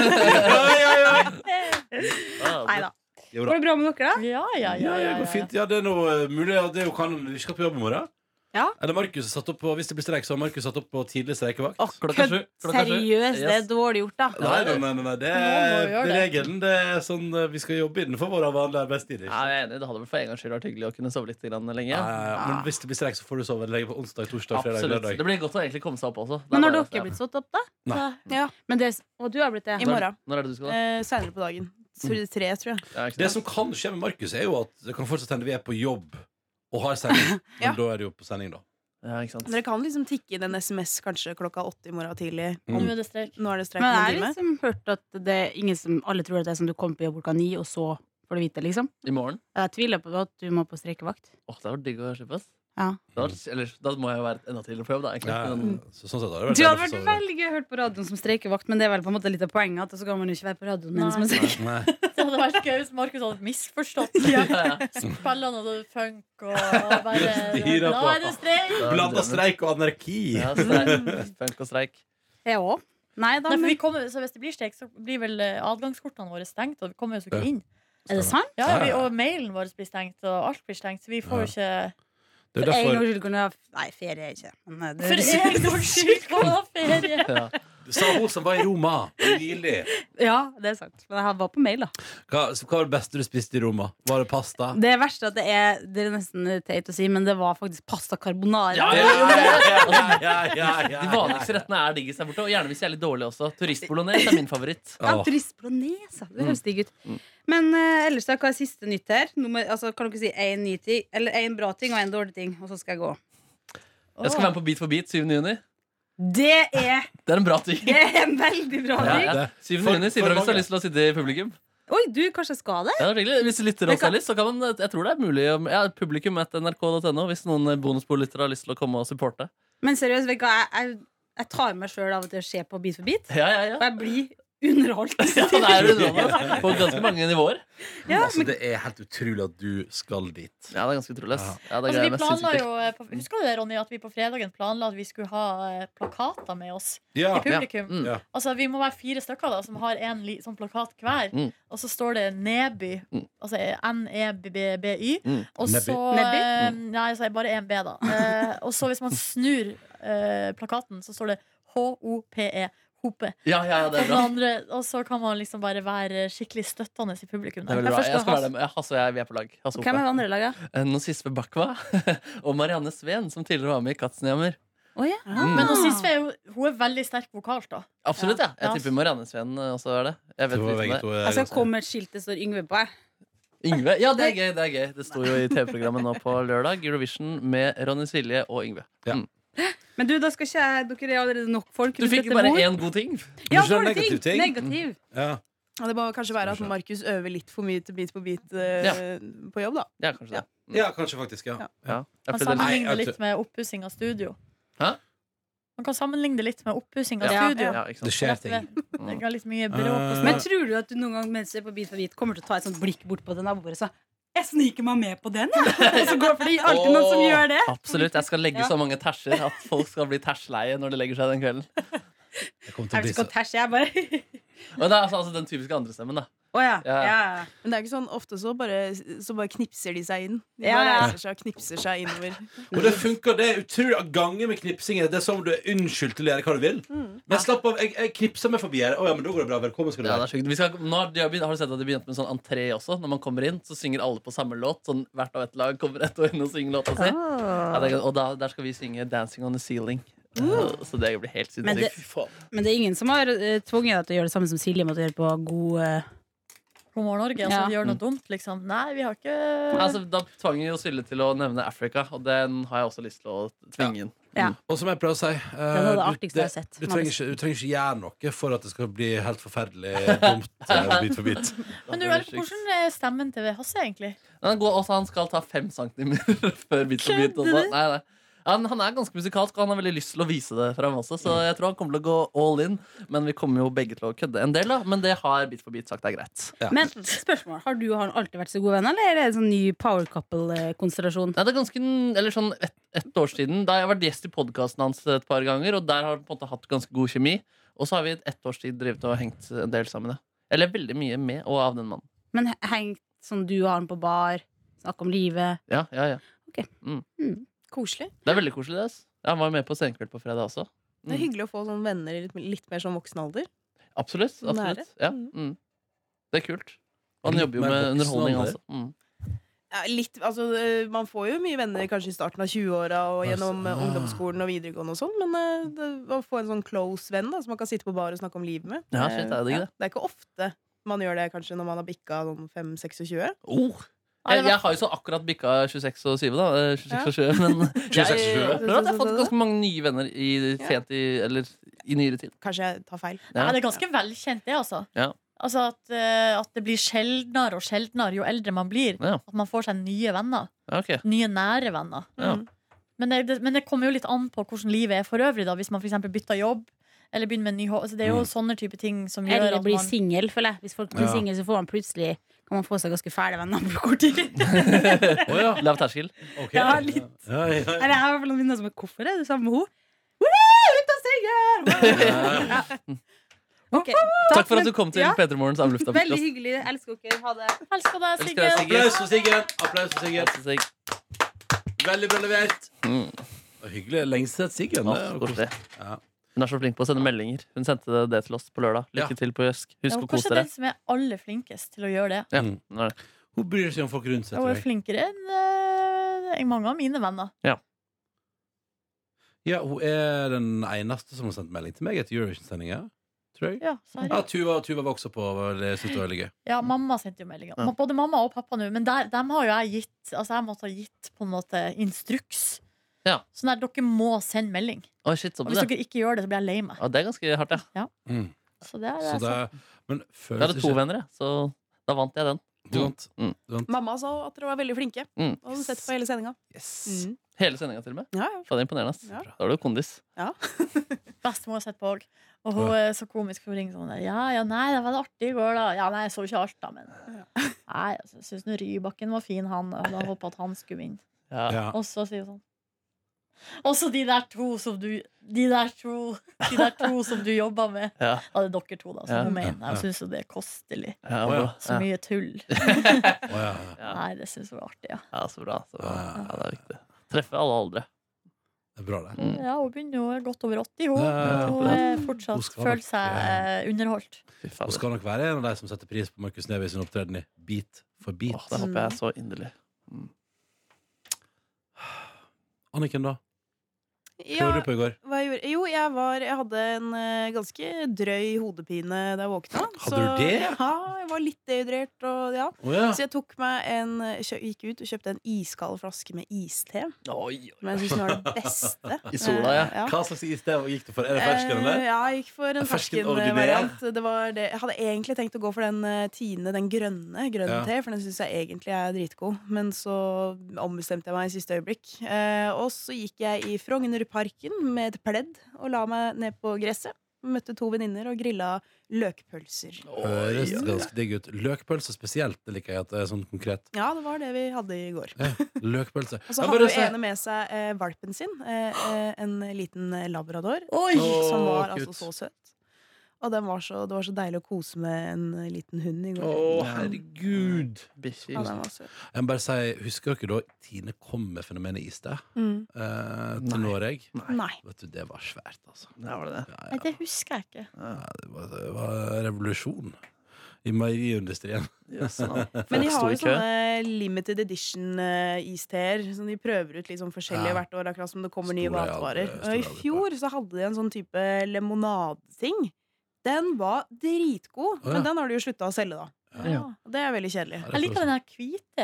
S2: Ja, ja, ja.
S1: Nei da.
S2: Jo da.
S1: Går det bra med dere, da?
S3: Ja, ja, ja.
S2: Ja, ja, det går fint. Ja, det er noe eh, mulig ja, det er jo kan, Vi skal på jobb i morgen.
S1: Ja.
S2: Eller Markus er satt opp på, Hvis det blir streik, så har Markus satt opp på tidlig streikevakt.
S4: Å, Klokka sju. Klokka sju.
S1: Seriøst, det er
S4: Yes.
S1: dårlig gjort, da.
S2: Nei, nei, nei, nei, nei, det
S3: Nå må
S2: er
S3: vi gjøre det.
S2: regelen. Det er sånn eh, Vi skal jobbe innenfor våre vanlige arbeidstider.
S4: Ja, jeg er enig. Det hadde vel for en gangs skyld vært hyggelig å kunne sove litt grann lenge.
S2: Ja, ja, ja. Men hvis det blir streik, så får du sove lenge på onsdag, torsdag, fredag,
S4: Absolutt.
S2: lørdag.
S4: Det blir godt å egentlig komme seg opp også. Det er
S1: Men har
S4: bare-
S1: dere blitt satt opp, da?
S5: Ja,
S1: Men det, og du har blitt det?
S5: I morgen.
S4: Når er det du skal da?
S5: Eh, Seinere på dagen. Tre,
S4: Mm.
S5: tre, tror jeg.
S4: Ja, ikke
S2: Det
S4: sant?
S2: som kan skje med Markus, er jo at det kan fortsatt hende vi er på jobb og har sending.
S5: Ja.
S2: Men da er det jo på sending, da.
S4: Ja, ikke sant?
S5: Dere kan liksom tikke inn en SMS kanskje klokka åtte i morgen tidlig.
S4: Mm.
S3: Nå
S5: Om,
S3: er det streik.
S5: nå er det streik om
S1: Men jeg har
S5: en time.
S1: liksom hørt at det er ingen som alle tror at det er som du kommer på jobb klokka ni, og så får du vite det, liksom.
S4: I morgen?
S1: Jeg tviler på at du må på streikevakt.
S4: Åh, det hadde vært digg å slippe, ass.
S1: Ja.
S4: Det hadde vært- eller, da må jeg jo være enda tidligere på jobb, da. egentlig.
S2: Ja,
S4: Men,
S2: så sånn sett har det vært
S1: Du hadde
S2: deilig
S1: vært
S2: for så vidt.
S1: veldig gøy å høre på radioen som streikevakt, men det er vel på en måte litt av poenget. At så kan man jo ikke være på radioen mens
S3: Nei.
S1: man streiker.
S2: Nei.
S3: Det hadde vært gøy hvis Markus hadde misforstått.
S4: ja, ja.
S3: Spiller noe funk og og bare
S2: Styrer på.
S3: Nå er det streik!
S2: Blanda streik og anarki.
S4: Ja, streik. Funk og streik.
S1: Jeg òg. Nei da,
S3: Nei, for
S1: men
S3: vi kommer, så hvis det blir streik, så blir vel eh, adgangskortene våre stengt, og vi kommer jo så
S2: Ja.
S3: ikke inn.
S1: Er det sant?
S3: Ja, vi, og mailen vår blir stengt, og alt blir stengt, så vi får jo ikke
S2: Det er
S1: For en
S2: derfor
S1: gangs skyld kunne jeg ha Nei, ferie er jeg ikke men, eh, det
S3: For en gangs skyld kan man ha ferie!
S4: Ja.
S2: Sa hun som var i Roma nylig.
S1: Ja, det er sant. Men jeg var på mail, da.
S2: Hva, hva var det beste du spiste i Roma? Var det pasta?
S1: Det verste er at det er Det er nesten teit å si, men det var faktisk pasta carbonara.
S4: Ja,
S2: Ja, ja, ja, ja, ja,
S4: De
S2: ja.
S4: vanligste rettene er diggest der borte, og gjerne hvis jeg er litt dårlig også. Turistbolognese er min favoritt.
S1: Ja,
S2: Åh.
S1: turist bolognese. Det
S4: Mm.
S1: høres digg ut.
S4: Mm.
S1: Men eh, ellers, da, hva er siste nytt her? Nå må- altså, kan dere si én ny ting, eller én bra ting og én dårlig ting, og så skal jeg gå?
S4: Jeg skal være med på Beat for beat 7. juni.
S1: Det er,
S4: Det er en bra ting.
S1: det er en veldig bra
S4: Ja,
S1: ting!
S4: ja. 7.
S2: For-
S4: juni, si
S2: for
S4: fra hvis du har
S2: mange.
S4: lyst til å sitte i publikum.
S1: Oi, du, kanskje jeg skal det?
S4: Ja, det er hyggelig. Hvis lyttere
S1: Men
S4: også
S1: kan-
S4: har lyst, så kan man Jeg tror det er mulig om- ja, Publikum at nrk.no hvis noen bonusbolyttere har lyst til å komme og supporte.
S1: Men seriøst, vet du hva, jeg, jeg, jeg tar meg sjøl av og til å se på Beat for beat.
S4: Ja, ja, ja.
S1: Og jeg blir underholdt.
S4: Ja, det er underholdende på ganske mange nivåer.
S1: Ja,
S2: altså, det er helt utrolig at du skal dit.
S4: Ja, det er ganske utrolig. ass. Ja, det greier
S3: Altså,
S4: jeg
S3: vi
S4: nesten
S3: planla
S4: sikkert.
S3: jo, eh, på- Husker du det, Ronny, at vi på fredagen planla at vi skulle ha eh, plakater med oss
S2: Ja.
S3: i publikum?
S4: Mm.
S2: Ja.
S3: Altså, Vi må være fire stykker da, som har en li- sånn plakat hver.
S4: Mm.
S3: Og så står det Neby,
S4: Mm.
S3: altså eh, N-E-B-B-Y.
S4: Mm.
S3: Og
S2: Nebby.
S3: så eh, Nei, så er det bare en B, da. Eh, og så hvis man snur eh, plakaten, så står det H-O-P-E. E, Hope.
S4: Ja, ja, ja, det
S3: Og,
S4: er
S3: den
S4: bra.
S3: andre, og så kan man liksom bare være skikkelig støttende i publikum.
S4: Det er
S3: Der.
S4: veldig bra. Jeg
S1: Jeg
S4: skal
S1: forstår
S4: være med. Hasse og jeg, vi er på lag. Hasse
S1: Hvem er
S4: Hope.
S1: det andre laget?
S4: Eh, Nozisbe Bakwa og Marianne Sveen, som tidligere var med i Katzenjammer.
S1: Å ja.
S4: Mm.
S3: Men Sisve er jo hun er veldig sterk vokalt, da.
S4: Absolutt, ja.
S3: Ja.
S4: Jeg tipper Marianne Sveen eh, også er det. Jeg
S2: Det
S4: vet
S2: var
S4: litt om
S2: begge
S4: det.
S2: to, eh,
S1: Altså, Jeg skal
S2: ganske-
S1: komme med et skilt det står Yngve på. jeg.
S4: Yngve. Ja, det er gøy. Det er gøy Det sto jo i TV-programmet nå på lørdag. Eurovision med Ronny Silje og Yngve.
S2: Ja.
S4: Mm.
S1: Men du, da skal ikke jeg Dere er allerede nok folk.
S4: Du fikk
S1: Dette
S4: jo bare
S1: må-
S4: én god ting.
S1: Ja,
S2: Du skjønner
S1: dårlig
S2: negativ ting.
S1: ting. Negativ.
S2: Ja.
S5: Ja, det må kanskje være at Markus øver litt for mye til Beat på beat eh, på jobb, da.
S4: Ja, kanskje det.
S2: ja, kanskje faktisk. Ja.
S5: Ja.
S4: Ja. Ja,
S3: Man
S4: for det-
S2: Nei,
S3: sammenligner
S2: jeg
S3: det litt
S2: tror-
S3: med oppussing av studio.
S4: Hæ?
S3: Man kan sammenligne det litt med oppussing av
S1: Ja.
S3: studio.
S4: ja, ikke sant?
S2: Det skjer ting.
S4: Mm.
S3: Det er litt mye bråk og
S2: Eh,
S3: sånn.
S1: Men tror du at du noen gang mens du er på Bit for bit, kommer til å ta et sånt blikk bort på den nabobordet så Jeg sniker meg med på den, jeg! Og så går for det er alltid noen som gjør det.
S4: Absolutt. Jeg skal legge så mange tersjer at folk skal bli tersleie når de legger seg den kvelden.
S2: Jeg kommer til å
S1: Jeg vil
S2: bli
S1: ikke
S2: så
S1: ha tæsj, jeg bare
S4: Men det er altså, altså den typiske andrestemmen, da.
S1: Å ja.
S4: Ja.
S1: ja.
S5: Men det er ikke sånn, ofte så bare, så bare knipser de seg inn. De
S1: Ja,
S5: bare
S1: ja.
S5: reiser seg og knipser seg innover.
S2: Og det funker. Det er utrolig gange med knipsing. Det er som du er unnskyldt til å gjøre hva du vil.
S1: Mm.
S2: Men slapp av, jeg, jeg knipser meg forbi her. Å ja, men da går det bra. Velkommen skal du
S4: Ja, det
S2: være.
S4: er sjukt. Vi skal, nå har, de har, begynt, har du sett at de begynte med sånn entré også? Når man kommer inn, så synger alle på samme låt. Sånn Hvert av et lag kommer ett og inn og synger låta si. Ja, det er, og da, der skal vi synge 'Dancing on the Ceiling'. Uh, Så det blir helt
S1: Men det-
S4: sinnssykt. Fy faen.
S1: Men det er ingen som har eh, tvunget deg til å gjøre det samme som Silje måtte gjøre på God eh,
S3: God morgen, Norge. Altså,
S1: Ja.
S3: De gjør noe dumt, liksom. Nei, vi har ikke
S4: Altså, da tvang jo Silje til å nevne Africa, og den har jeg også lyst til å tvinge inn.
S2: Og som jeg pleier å si eh,
S1: var det
S2: du-
S1: artigste jeg har sett.
S2: Du trenger, ikke, du trenger ikke gjøre noe for at det skal bli helt forferdelig dumt eh, bit for bit.
S3: Men du, Ralf, hvordan er stemmen til Hasse, egentlig?
S4: Han, går, også, han skal ta fem centimeter før bit for bit. Også. Nei, nei. Han, han er ganske musikalsk, og han har veldig lyst til å vise det fram også. Så jeg tror han kommer til å gå all in. Men vi kommer jo begge til å kødde en del, da. Men det har bit for bit sagt er greit.
S2: Ja.
S1: Men spørsmål, har du og han alltid vært så gode venner, eller er det en sånn ny power couple-konstellasjon?
S4: Nei, det er ganske, eller sånn et, et år siden Da har jeg vært gjest i podkasten hans et par ganger, og der har vi på en måte hatt ganske god kjemi. Og så har vi i ett års tid drevet og hengt en del sammen. Ja. Eller veldig mye med og av den mannen.
S1: Men he- hengt sånn du og han på bar, snakke om livet.
S4: Ja, ja, ja.
S5: Mm. Koselig.
S4: Det er veldig koselig. det, ass. Ja, han var jo med på Senkveld på fredag også. Mm.
S5: Det er hyggelig å få sånne venner i litt, litt mer sånn voksen alder.
S4: Absolutt. absolutt.
S5: Nære.
S4: Ja. Mm. Det er kult. Og han
S2: Litt
S4: jobber jo
S2: mer
S4: med
S2: voksen
S4: underholdning
S2: alder.
S4: også. Mm.
S5: Ja, litt, altså, eh, man får jo mye venner kanskje i starten av 20-åra og gjennom eh,
S2: Ah.
S5: ungdomsskolen og videregående og sånn, men eh, det, å få en sånn close venn da, som man kan sitte på bar og snakke om livet med,
S4: Ja,
S5: eh,
S4: shit, er det ikke det?
S5: det er ikke ofte man gjør det kanskje når man har sånn bikka noen 5-26.
S4: Oh.
S3: Ja, det
S4: Jeg,
S3: var-
S4: jeg har jo så akkurat bikka 26 og 7, da. eh, 26 og 7, men jeg
S2: 26 og 7, ja.
S4: opplever at jeg har fått ganske mange nye venner i, sent i, eller, i nyere tid.
S5: Kanskje jeg tar feil.
S4: Ja.
S3: Nei, det er ganske velkjent, det, altså.
S4: Ja.
S3: Altså at, eh, at det blir sjeldnere og sjeldnere jo eldre man blir.
S4: Ja.
S3: At man får seg nye venner.
S4: Ja, ok.
S3: Nye nære venner.
S4: Ja.
S5: Mm.
S3: Men det, det, men det kommer jo litt an på hvordan livet er for øvrig, da. Hvis man for eksempel bytter jobb, eller begynner med en ny hå- altså, Det er
S4: Mm.
S3: jo sånne type ting som gjør
S1: Eller
S3: at
S1: bli
S3: man
S1: singel, føler jeg. Hvis folk blir
S2: Ja.
S1: single, så får man plutselig kan man få seg ganske fæle venner på kort tid.
S2: Å ja.
S4: Lav terskel.
S2: ok.
S1: Ja, litt.
S2: Ja, ja,
S1: Eller jeg har i hvert fall noen venner som er hvorfor er du sammen med henne?
S2: ja.
S1: Ok,
S4: Takk for at du kom til
S1: Ja,
S4: P3 Morgens avlufta.
S1: Veldig hyggelig. Jeg elsker dere. Ha det.
S3: Elsker deg,
S4: Elsker deg,
S3: Sigurd.
S4: Sigurd.
S2: Applaus for Siggen! Applaus for Siggen. Veldig bra levert.
S4: Mm.
S2: Det var Hyggelig. Lenge siden Siggen. det er jo koselig. Ja.
S4: Hun er så flink på å sende meldinger. Hun sendte det til oss på lørdag. Lykke
S2: Ja.
S4: til på Jøsk.
S3: Ja,
S4: Husk
S3: hun
S4: å
S3: er kanskje
S4: kose dere.
S3: den som er aller flinkest til å gjøre det.
S4: Ja,
S2: Mm.
S4: nå er det.
S2: Hun bryr seg om folk rundt seg.
S3: Hun
S2: tror
S3: er
S2: jeg.
S3: flinkere enn eh, mange av mine venner.
S2: Ja, hun er den eneste som har sendt melding til meg etter Eurovision-sendinga. Tror jeg.
S3: Ja, så er
S2: Ja,
S3: det.
S2: Tuva, Tuva var også på. og Jeg synes det var veldig gøy.
S3: ja, mamma sendte jo meldinger.
S4: Ja.
S3: Både mamma og pappa nå. Men der, dem har jo jeg gitt Altså jeg måtte ha gitt på en måte instruks.
S4: Ja.
S3: Sånn der, dere må sende melding.
S4: Oi, shit, så
S3: Og
S4: du
S3: hvis
S4: det?
S3: dere ikke gjør det, så blir jeg lei meg.
S4: Ja, det er ganske hardt, ja.
S2: Mm.
S3: Så det er
S2: Så det,
S3: det. jeg sa.
S2: men
S4: Da er
S2: føles
S4: det to
S2: ikke
S4: venner, jeg. Så da vant jeg den.
S2: Du vant.
S4: Mm.
S2: Du vant.
S5: Mamma sa at dere var veldig flinke,
S4: Mm.
S5: og hun setter på hele sendinga.
S2: Yes.
S5: Mm.
S4: Hele sendinga til og med.
S5: Ja, ja.
S4: Fader, imponerende. ass.
S5: Ja.
S4: Da var du kondis.
S3: Bestemor har sett på òg. Og hun er så komisk. for Hun ringer sånn der, Ja, ja, nei, det var veldig artig i går, da. Ja, nei, jeg så ikke alt, da, men Nei, altså, jeg syns nå Rybakken var fin, han. Og da håpa at han skulle vinne.
S4: Ja.
S2: Ja.
S3: Og så sier hun sånn Også de der to som du De der to, de der to som du jobba med.
S4: Ja.
S3: Ja, det er dere to, da. Som
S4: Ja.
S3: hun mener.
S2: Ja, ja.
S3: Hun syns jo det er kostelig.
S4: Ja,
S2: Å, ja.
S4: bra.
S3: Så
S4: ja.
S3: mye tull.
S2: Å, ja, ja.
S4: Ja.
S3: Nei, det syns hun er artig, ja.
S4: ja, så bra. Så bra.
S2: Ja.
S4: Ja, det er viktig. Treffe alle aldre.
S2: Det er bra, det.
S4: Mm.
S3: Ja, Hun begynner jo godt over 80, hun.
S2: Ja,
S3: Hun
S4: ja.
S3: er
S2: Hun
S3: fortsatt
S2: skal
S3: føler
S2: nok-
S3: seg eh, underholdt.
S4: Fy
S2: Hun
S4: fader.
S2: skal nok være en av de som setter pris på Markus Neby sin opptreden i Beat for beat.
S4: Åh, det håper jeg så inderlig.
S2: Anniken, da? Hva
S5: Ja,
S2: gjorde du på i går?
S5: hva jeg gjorde? Jo, jeg, var, jeg hadde en eh, ganske drøy hodepine da jeg våkna.
S2: Hadde du det?
S5: Ja, jeg var litt dehydrert. Og, ja.
S2: Å ja.
S5: Så jeg tok meg en, kjø- gikk ut og kjøpte en iskald flaske med iste.
S4: Oi, oi.
S5: Som jeg syns var det beste.
S4: I sola, ja.
S5: Eh,
S2: Hva slags is det var? gikk du for? Er det fersken,
S5: Eh,
S2: eller?
S5: Ja, jeg gikk for en
S2: Fersken
S5: fersken eh,
S2: ordinær.
S5: variant. Det var det. Jeg hadde egentlig tenkt å gå for den eh, Tine, den grønne, grønn
S2: Ja.
S5: te, for den syns jeg egentlig er dritgod. Men så ombestemte jeg meg i siste øyeblikk. Eh, og så gikk jeg i Frognerparken med et pledd og la meg ned på gresset. Møtte to venninner og grilla løkpølser.
S2: Høres ganske digg ut. Løkpølse spesielt, det liker jeg at det er sånn konkret.
S5: Ja, det var det vi hadde i går.
S2: Ja, løkpølse.
S5: Og så
S2: Jeg
S5: hadde
S2: bare
S5: jo
S2: sier-
S5: ene med seg eh, valpen sin, eh, eh, en liten eh, labrador,
S2: Åh,
S5: som var
S2: kutt.
S5: altså så søt. Og den var så, det var så deilig å kose med en eh, liten hund i går.
S2: Å, herregud!
S4: Bikkjer.
S5: Ja, den var søt.
S2: Jeg må bare si, Husker dere da Tine kom med fenomenet is der? Eh, til
S4: Nei.
S2: Norge?
S5: Mm. Nei.
S2: Vet du, det var svært, altså.
S4: Ja, var det det?
S2: Ja,
S3: Nei,
S2: ja.
S3: det husker jeg ikke.
S2: Det, var, det var revolusjon i meieriindustrien.
S4: Yes, ja.
S5: Men
S4: Folk
S5: de
S4: sto
S5: har
S4: i
S5: jo
S4: kø.
S5: sånne limited edition-isteer. Som de prøver ut litt sånn
S2: Ja.
S5: forskjellige hvert år, akkurat som det kommer nye
S2: Store
S5: matvarer.
S2: aldre-
S5: Og I
S2: store aldre-
S5: fjor så hadde de en sånn type lemonadeting. Den var dritgod,
S2: Å, ja.
S5: men den har de jo slutta å selge, da.
S3: Ja.
S5: Og det er veldig kjedelig.
S2: Ja, det
S3: Jeg
S2: forstår
S3: liker den her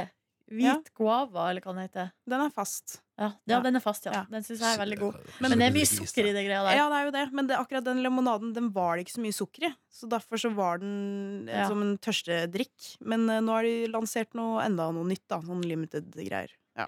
S3: hvite. Hvit guava, eller hva den heter.
S5: Den er fast.
S3: Ja, ja,
S5: Ja.
S3: den er fast, ja.
S5: Ja.
S3: Den syns jeg er veldig god.
S2: Men-
S3: Men det er mye sukker i det greia der.
S5: Ja, det er jo det, men det, akkurat den lemonaden Den var det ikke så mye sukker i. Så derfor så var den eh,
S3: Ja.
S5: som en tørstedrikk. Men eh, nå har de lansert noe enda noe nytt, da. Sånn limited greier. Ja,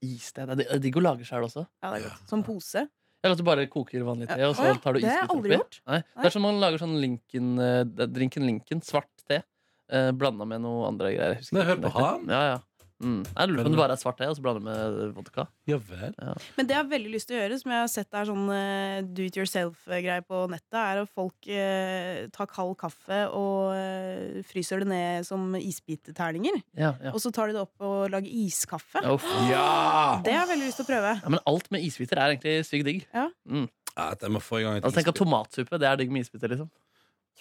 S4: Is, det er det er digg å lage sjøl også.
S5: ja det er godt. Sånn pose.
S4: Eller at du bare koker vanlig te,
S5: Ja.
S4: og så
S5: Å ja,
S4: tar du
S5: det har jeg
S4: isbiter oppi.
S5: aldri gjort.
S4: Nei. Det
S5: Nei.
S4: er som man lager sånn Lincoln, eh, det er drinken Lincoln, svart te, eh, blanda med noe andre greier. Jeg husker
S2: Men
S4: ikke
S2: hør
S4: hva
S2: på
S4: det heter. Ja, ja. Mm. Jeg lurer på om det bare er svart te, og så blander med vodka.
S2: Ja vel.
S5: Men det jeg har veldig lyst til å gjøre, som jeg har sett er sånn eh, do it yourself-greier på nettet, er at folk eh, tar kald kaffe og eh, fryser det ned som isbitterterninger.
S4: Ja, ja.
S5: Og så tar de det opp og lager iskaffe.
S4: Ja, uff.
S2: Ja!
S5: Det har jeg veldig lyst til å prøve.
S4: ja, Men alt med isbiter er egentlig sykt digg.
S2: Jeg må få i gang et
S4: Altså, tenk at
S2: isbit.
S4: Tomatsuppe det er digg med isbiter. liksom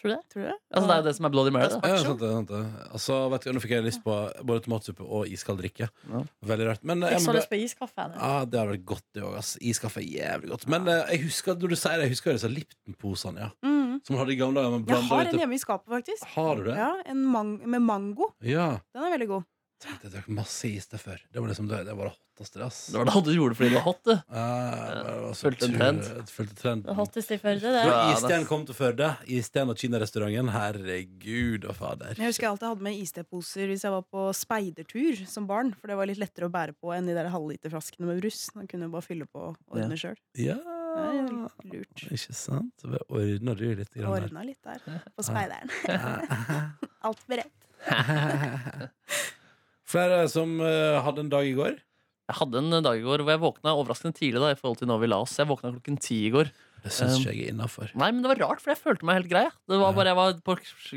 S3: Tror du det?
S5: Tror du det?
S4: Altså, Det er jo det som er Bloody Mary. Da.
S2: ja, sant det, sant det. Altså, vet du, Nå fikk jeg lyst på både tomatsuppe og iskald drikke.
S4: Ja.
S2: Veldig rart. Men, eh,
S3: Jeg
S2: jeg
S3: så
S2: må
S3: lyst
S2: bare-
S3: på iskaffe. jeg nå.
S2: ja, det hadde vært godt, det òg. Iskaffe er jævlig godt. Men eh, jeg husker når du sier det, jeg husker disse Lipton-posene ja.
S5: Mm.
S2: som man hadde i gamle dager. man
S5: Jeg
S2: blandet
S5: har
S2: ut
S5: en hjemme i skapet, faktisk.
S2: det- Har du det?
S5: Ja, en mang Med mango.
S2: Ja.
S5: Den er veldig god.
S2: Tenkte jeg drakk masse is der før. Det var liksom det, det var det hotteste. Ass.
S4: Det var da du gjorde det fordi det var hot. Du.
S2: Eh, det var så
S4: Fulgte en
S2: utrolig-
S4: trend.
S2: Fulgte trend.
S3: Det hotteste i Førde, det.
S2: Når
S4: Ja,
S2: Isten
S4: det-
S2: kom til Førde, Isten og Kina-restauranten, herregud og fader.
S5: Jeg husker jeg alltid hadde med isteposer hvis jeg var på speidertur som barn. For det var litt lettere å bære på enn de der halvliterflaskene med brus. Da kunne jeg bare fylle på og ordne sjøl.
S2: Ja,
S5: Lurt.
S2: ikke sant? Så vi ordner du litt. Grann her.
S5: Ordna litt der på speideren. Alt beredt.
S2: Flere som eh, hadde en dag i går.
S4: Jeg hadde en dag i går hvor jeg våkna overraskende tidlig. da i forhold til når vi la oss Jeg våkna klokken ti i går.
S2: Det syns
S4: Um,
S2: ikke jeg er innafor.
S4: Nei, men det var rart, for jeg følte meg helt grei. jeg. Det var bare, jeg var, på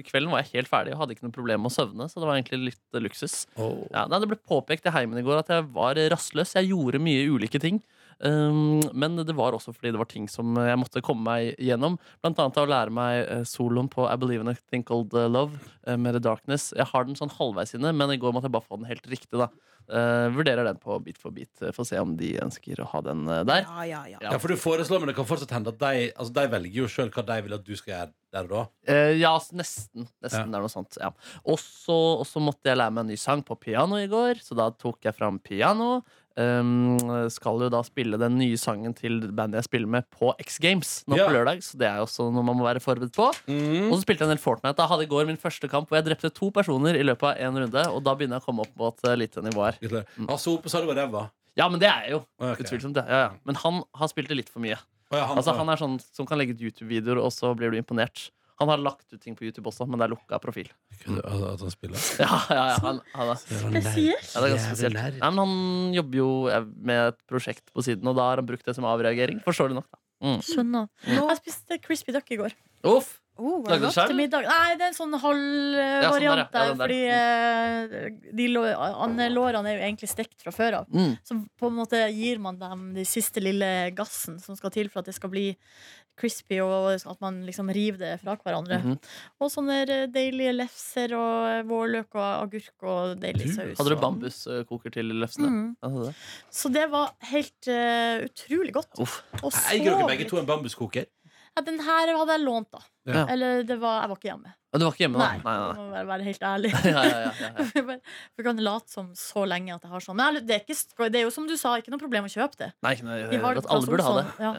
S4: kvelden var jeg helt ferdig og hadde ikke noe problem med å søvne. Så det var egentlig litt eh, luksus. Ja, nei, det ble påpekt i heimen i går at jeg var rastløs. Jeg gjorde mye ulike ting. Um, men det var også fordi det var ting som jeg måtte komme meg gjennom. Blant annet å lære meg eh, soloen på I Believe in a Thing Called eh, Love eh, med The Darkness. Jeg har den sånn halvveis inne, men i går måtte jeg bare få den helt riktig. da Eh, Vurderer den på bit for bit. Eh, Får se om de ønsker å ha den eh, der.
S5: Ja, ja, ja.
S4: Ja.
S2: Ja, for du foreslår, men det kan fortsatt hende at de, altså, de velger jo sjøl hva de vil at du skal gjøre der og da.
S4: Eh, ja, s- nesten. Nesten
S2: Ja.
S4: det er noe sånt. Ja. Og så og så måtte jeg lære meg en ny sang på piano i går, så da tok jeg fram piano. Um, skal jo da spille den nye sangen til bandet jeg spiller med på X Games nå
S2: Ja.
S4: på lørdag, så det er jo også noe man må være forberedt på. Og så spilte jeg en del Fortnite. Da hadde i går min første kamp hvor jeg drepte to personer i løpet av én runde, og da begynner jeg å komme opp på et eh, lite nivå her.
S2: Gratulerer. Altså, Ope sa det var ræva.
S4: Ja, men det er jeg jo.
S2: Ok.
S4: Utvilsomt. det. Ja, ja. Men han har spilt det litt for mye.
S2: Å, ja, han,
S4: Altså, han er sånn som kan legge ut YouTube-videoer, og så blir du imponert. Han har lagt ut ting på YouTube også, men det er lukka profil.
S2: Kødder du, altså, At han spiller
S4: Ja, ja, ja, han, han er,
S3: Spesielt.
S4: ja, det er ganske spesielt. Nei, men han jobber jo eh, med et prosjekt på siden, og da har han brukt det som avreagering. Forståelig nok, da. Mm.
S3: Skjønner. Jeg spiste crispy duck i går.
S4: Uff!
S5: Oh, var det
S4: Lagde du
S5: godt?
S3: Til
S4: sjøl?
S3: middag. Nei, det er en sånn halv
S4: Ja, sånn
S3: eh,
S4: der, ja.
S3: variant
S4: Ja,
S3: der,
S4: den der.
S3: fordi eh, de lå, andelårene er jo egentlig stekt fra før av.
S4: Mm.
S3: Så på en måte gir man dem de siste lille gassen som skal til for at det skal bli crispy, og at man liksom river det fra hverandre.
S4: Mhm.
S3: Og sånne eh, deilige lefser og eh, vårløk og agurk og deilig saus.
S4: Hadde du
S3: og-
S4: bambuskoker til lefsene?
S3: Mm.
S4: Ja, det-
S3: Så det var helt eh, utrolig godt.
S4: Uff.
S3: Og
S2: Eier dere
S3: så
S2: begge
S3: litt-
S2: to en bambuskoker?
S3: Ja, den her hadde jeg lånt, da.
S2: Ja.
S3: Eller det var, jeg var ikke hjemme.
S4: Ja, Du var ikke hjemme, da?
S3: Nei,
S4: Nei,
S3: jeg
S4: nei,
S3: må bare være helt ærlig.
S4: nei. Ja, ja, ja, ja, ja.
S3: Jeg bare- jeg kan late som så lenge at jeg har sånn. Men jeg- det er, ikke, sk- det er jo som du sa, ikke noe problem å kjøpe det.
S4: Nei, ikke noe,
S3: Vi har
S4: at
S3: det
S4: alle burde ha det.
S3: sånn, ja.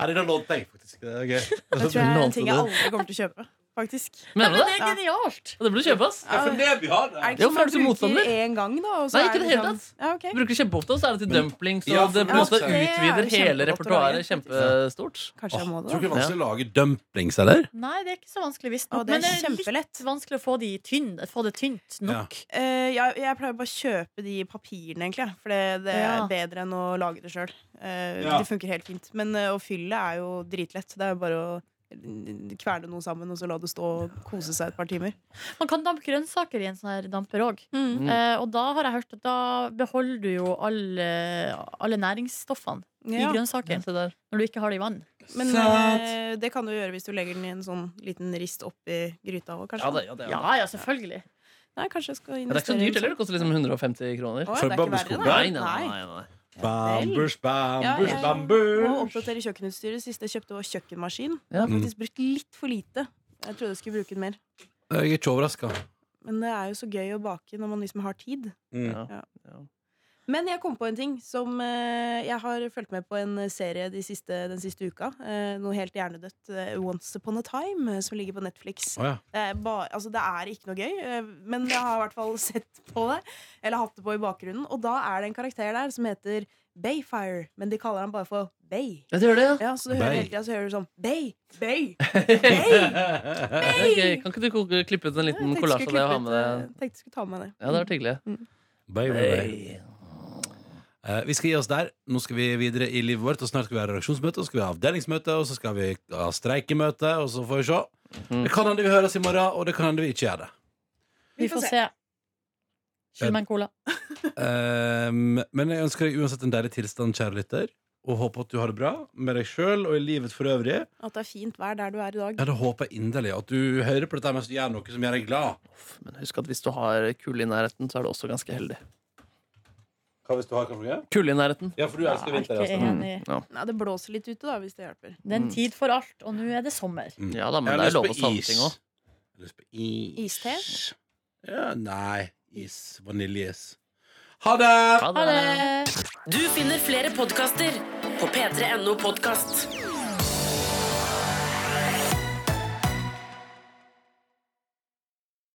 S2: Nei, det lånte jeg faktisk. Det er gøy.
S5: Det tror jeg er en ting jeg aldri kommer til å kjøpe. Faktisk.
S3: Nei,
S4: Mener du
S3: men det
S4: det?
S3: er genialt!
S4: Ja, det burde du kjøpe, ass.
S2: Ja, for det vi har
S5: Er
S2: det.
S5: det
S4: Jo,
S5: ikke
S4: for
S5: sånn
S4: du
S5: man
S4: motstander.
S5: bruker én gang, da? Og så
S4: Nei, ikke
S5: er
S4: det hele
S5: sånn- Ja, ok.
S4: Du bruker det kjempeofte, og så er det til
S2: Men-
S4: dumplings. Og
S2: Ja,
S4: det på en
S5: ja,
S4: måte
S2: det er
S4: utvider
S5: jo
S4: hele
S5: kjempegodt å lage,
S4: repertoaret kjempestort.
S5: Kanskje jeg må
S2: Tror
S5: det,
S2: ikke det
S5: da.
S2: er vanskelig å lage dumplings, eller?
S3: Nei, det er ikke så vanskelig,
S5: Å,
S3: visstnok.
S5: det
S3: Men
S5: er
S3: det er litt
S5: kjempelett.
S3: vanskelig å få de tynne, få det tynt nok.
S5: Eh, jeg, jeg pleier bare å kjøpe de papirene, egentlig. jeg. For det, det
S3: Ja.
S5: er bedre enn å lage det sjøl.
S2: Ja.
S5: Det funker helt fint. Men eh, å fylle er jo dritlett. Det er jo bare å eh, kverne noe sammen og så la det stå og kose seg et par timer.
S3: Man kan dampe grønnsaker i en sånn her damper òg.
S4: Mm.
S3: Eh, og da har jeg hørt at da beholder du jo alle, alle næringsstoffene i
S5: Ja.
S4: Ja,
S3: grønnsaken
S4: se der.
S3: når du ikke har det i vann.
S5: Men
S2: Sant.
S5: eh, det kan du gjøre hvis du legger den i en sånn liten rist oppi gryta òg,
S4: Ja,
S5: kanskje.
S4: det, ja, det, ja.
S3: Ja, ja, selvfølgelig.
S5: Nei, kanskje jeg skal
S4: Ja, det er ikke så
S5: investere i
S4: dyrt heller. Det koster liksom 150 kroner.
S5: Å,
S2: For
S5: ja, det er ikke verre,
S2: bambuskoger?
S4: Nei, nei,
S5: Nei.
S4: nei, nei.
S2: Bambus, bambus,
S5: Ja, ja. Må
S2: bambus.
S5: oppdatere kjøkkenutstyret. Sist jeg kjøpte, var kjøkkenmaskin. Jeg
S4: Ja.
S5: har faktisk brukt litt for lite. Jeg trodde jeg skulle bruke den mer.
S2: Jeg er ikke overraska.
S5: Men det er jo så gøy å bake når man liksom har tid.
S2: Mm.
S4: Ja.
S5: Men jeg kom på en ting som eh, Jeg har fulgt med på en serie de siste, den siste uka. eh, noe helt hjernedødt. eh, Once Upon a Time, eh, som ligger på Netflix.
S2: Å, ja.
S5: Det er, ba, altså, det er ikke noe gøy, eh, men jeg har i hvert fall sett på det. Eller hatt det på i bakgrunnen. Og da er det en karakter der som heter Bayfire. Men de kaller han bare for Bay.
S4: Ja, det gjør det, ja.
S5: Ja, så du
S2: Bay.
S5: hører hele tida så hører du sånn Bay, Bay, Bay!
S4: Det er gøy. Kan ikke du koke- klippe ut en liten
S5: Jeg
S4: kollasj
S5: tenkte
S4: av det og ha
S5: skulle
S4: med det?
S5: klippe ut, eh, mm. Tenkte jeg skulle ta med det.
S4: Ja, det hadde vært hyggelig.
S2: Bye, bye, bye. Eh, vi skal gi oss der. Nå skal vi videre i livet vårt. Og Snart skal vi ha redaksjonsmøte, og så skal vi ha avdelingsmøte, og så skal vi ha streikemøte, og så får vi se.
S4: Mhm.
S2: Det kan hende vi høres i morgen, og det kan hende vi ikke gjør det.
S3: Vi får se. Skyld meg en cola.
S2: Ehm, men jeg ønsker deg uansett en deilig tilstand, kjære lytter, og håper at du har det bra med deg sjøl og i livet for øvrig.
S5: At det er fint vær der du er i dag.
S2: Ja, det håper jeg inderlig. At du hører på dette mens du gjør noe som gjør deg glad.
S4: Men husk at hvis du har kull i nærheten, så er du også ganske heldig.
S2: Hva hvis du har kanskje?
S4: Kull i nærheten.
S2: Ja, for du elsker
S3: Jeg
S2: vinter.
S3: er ikke
S2: Astrid.
S4: Mm.
S3: enig.
S4: Ja.
S5: Nei, det blåser litt ute, da, hvis det hjelper.
S3: Det
S4: Mm.
S3: er en tid for alt, og nå er det sommer.
S4: ja da,
S2: Jeg
S4: men
S2: har
S4: det er
S2: lyst
S4: lov
S2: på
S4: å savne
S2: is.
S4: ting òg.
S2: Jeg har lyst på is.
S5: Iste?
S2: Ja, nei. Is. Vaniljeis. Ha det!
S4: Ha
S3: Ha det!
S6: Du finner flere podkaster på p3.no podkast.